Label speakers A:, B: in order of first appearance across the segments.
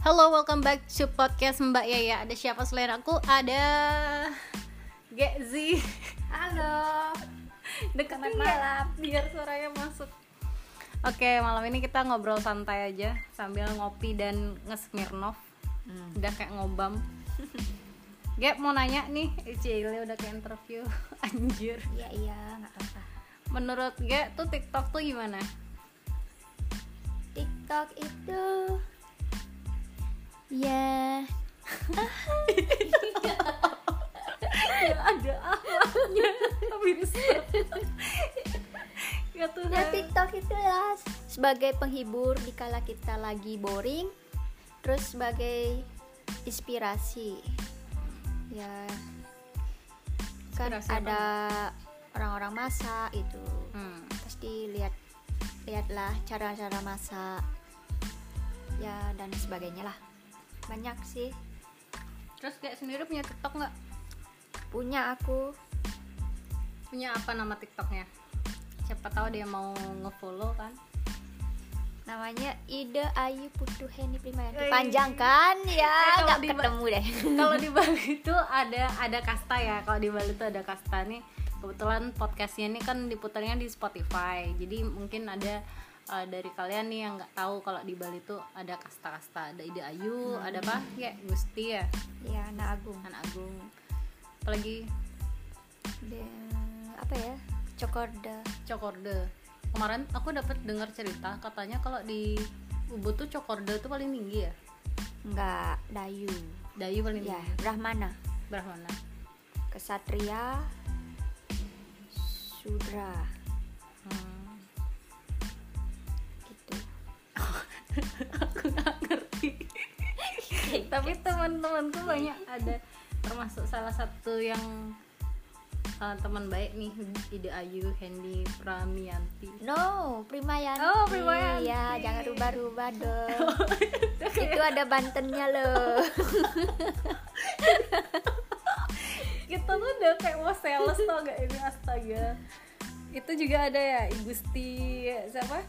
A: Hello, welcome back to podcast Mbak Yaya. Ada siapa selain aku? Ada Gezi.
B: Halo,
A: Deketin
B: Selamat
A: nggak?
B: malam.
A: biar suaranya masuk. Oke, malam ini kita ngobrol santai aja sambil ngopi dan ngesmirnov.
B: Hmm.
A: Udah kayak ngobam. Gap mau nanya nih, Cile udah kayak interview anjir.
B: Iya iya nggak apa-apa.
A: Menurut Gap tuh TikTok tuh gimana?
B: TikTok itu ya
A: ada awalnya habis. ya Tuhan.
B: ya TikTok itu ya sebagai penghibur dikala kita lagi boring, terus sebagai inspirasi. Ya kan
A: Inspirasi
B: ada orang-orang masak itu.
A: Hmm.
B: Pasti lihat lihatlah cara-cara masak. Ya dan sebagainya lah. Banyak sih
A: Terus kayak sendiri punya TikTok nggak?
B: punya aku
A: Punya apa nama TikToknya? Siapa tahu dia mau ngefollow kan?
B: namanya Ide Ayu Putu Heni
A: Eh.
B: Primayanti panjang kan
A: Eh,
B: ya
A: kalau
B: nggak
A: di-
B: ketemu deh
A: Kalau di Bali itu ada ada kasta ya. Kalau di Bali itu ada kasta nih. Kebetulan podcastnya ini kan diputarnya di Spotify. Jadi mungkin ada eh, dari kalian nih yang nggak tahu kalau di Bali itu ada kasta-kasta. Ada Ide Ayu, ada apa? Ya Gusti ya,
B: ya Nah Agung
A: Anak Agung. Apalagi
B: Dan- apa ya Cokorda
A: Cokorde. Kemarin aku dapat dengar cerita katanya kalau di Ubud tuh Cokorde tuh paling tinggi ya.
B: nggak Dayu
A: Dayu paling
B: ya
A: tinggi.
B: Brahmana
A: Brahmana.
B: Kesatria Sudra
A: Hmm.
B: gitu
A: aku nggak ngerti tapi teman-temanku banyak ada termasuk salah satu yang uh, teman baik nih Ida Ayu Hendy Pramianti
B: no Primayanti
A: Oh, Primayanti.
B: ya jangan rubah-rubah dong itu ada Bantennya loh
A: kita tuh udah kayak mau sales tau gak ini astaga itu juga ada ya Igusti siapa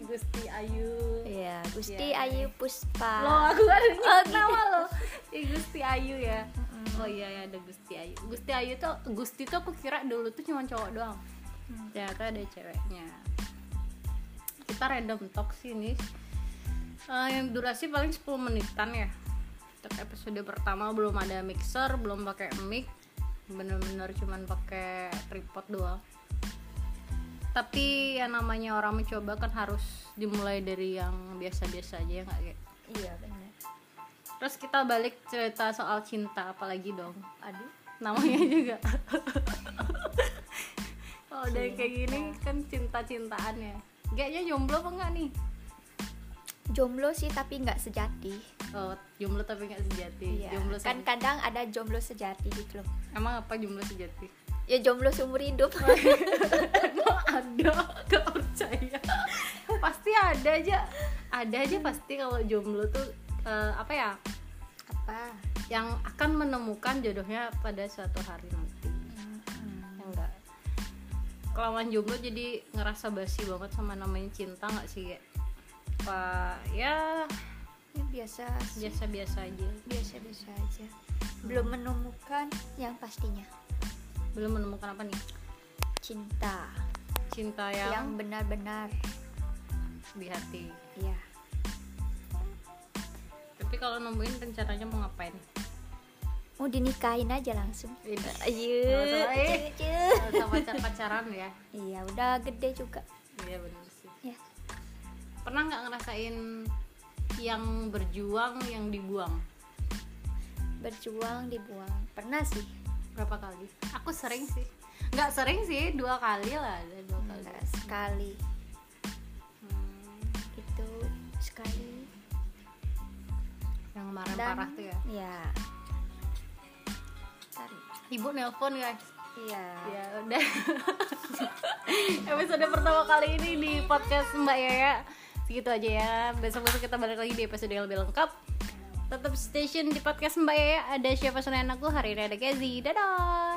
A: Igusti Ayu
B: ya Gusti
A: Ya.
B: Ayu Puspa
A: Loh, aku ada nyebut nama lo. Ih, Oh, gitu. Gusti Ayu ya. Oh iya ya ada Gusti Ayu. Gusti Ayu tuh Gusti tuh aku kira dulu tuh cuma cowok doang. Ternyata ada ceweknya. Kita random talk sih ini. Eh, yang durasi paling 10 menitan ya. Untuk episode pertama belum ada mixer, belum pakai mic. Bener-bener cuman pakai tripod doang. Tapi yang namanya orang mencoba kan harus dimulai dari yang biasa-biasa aja ya nggak kayak
B: iya benar
A: Terus kita balik cerita soal cinta apalagi dong.
B: aduh
A: Namanya juga. Kalau udah kayak gini kan cinta-cintaan ya. Kayaknya jomblo apa enggak nih?
B: jomblo sih tapi nggak sejati
A: Oh, jomblo tapi enggak sejati. Jomblo
B: kan
A: sejati.
B: kadang ada jomblo sejati gitu loh
A: Emang apa jomblo sejati?
B: ya jomblo seumur hidup
A: Emang ada, gak percaya. pasti ada aja. Ada aja pasti kalau jomblo tuh eh, apa ya?
B: apa
A: Yang akan menemukan jodohnya pada suatu hari nanti. Ya enggak kelamaan jomblo jadi ngerasa basi banget sama namanya cinta nggak sih ya apa ya
B: ya biasa sih,
A: biasa biasa aja
B: biasa biasa aja belum menemukan yang pastinya
A: belum menemukan apa nih
B: cinta
A: cinta
B: yang
A: yang,
B: benar-benar
A: di hati
B: ya
A: tapi kalau nemuin rencananya mau ngapain
B: mau dinikahin aja langsung Iya.
A: Tidak.
B: ayo
A: Nggak masalah, eh.
B: cucu
A: sama pacar pacaran ya
B: iya udah gede juga
A: iya benar sih
B: ya
A: pernah nggak ngerasain yang berjuang yang dibuang
B: berjuang dibuang pernah sih
A: berapa kali aku sering sih nggak sering sih dua kali lah ada dua kali
B: Enggak, Nah, sekali
A: Hmm,
B: itu sekali
A: yang kemarin parah tuh ya
B: Iya. Tarik.
A: ibu nelpon guys
B: Iya.
A: ya udah episode pertama kali ini di podcast Mbak Yaya segitu aja ya besok besok kita balik lagi di episode yang lebih lengkap tetap station di podcast Mbak Yaya ada siapa selain aku hari ini ada Gezi dadah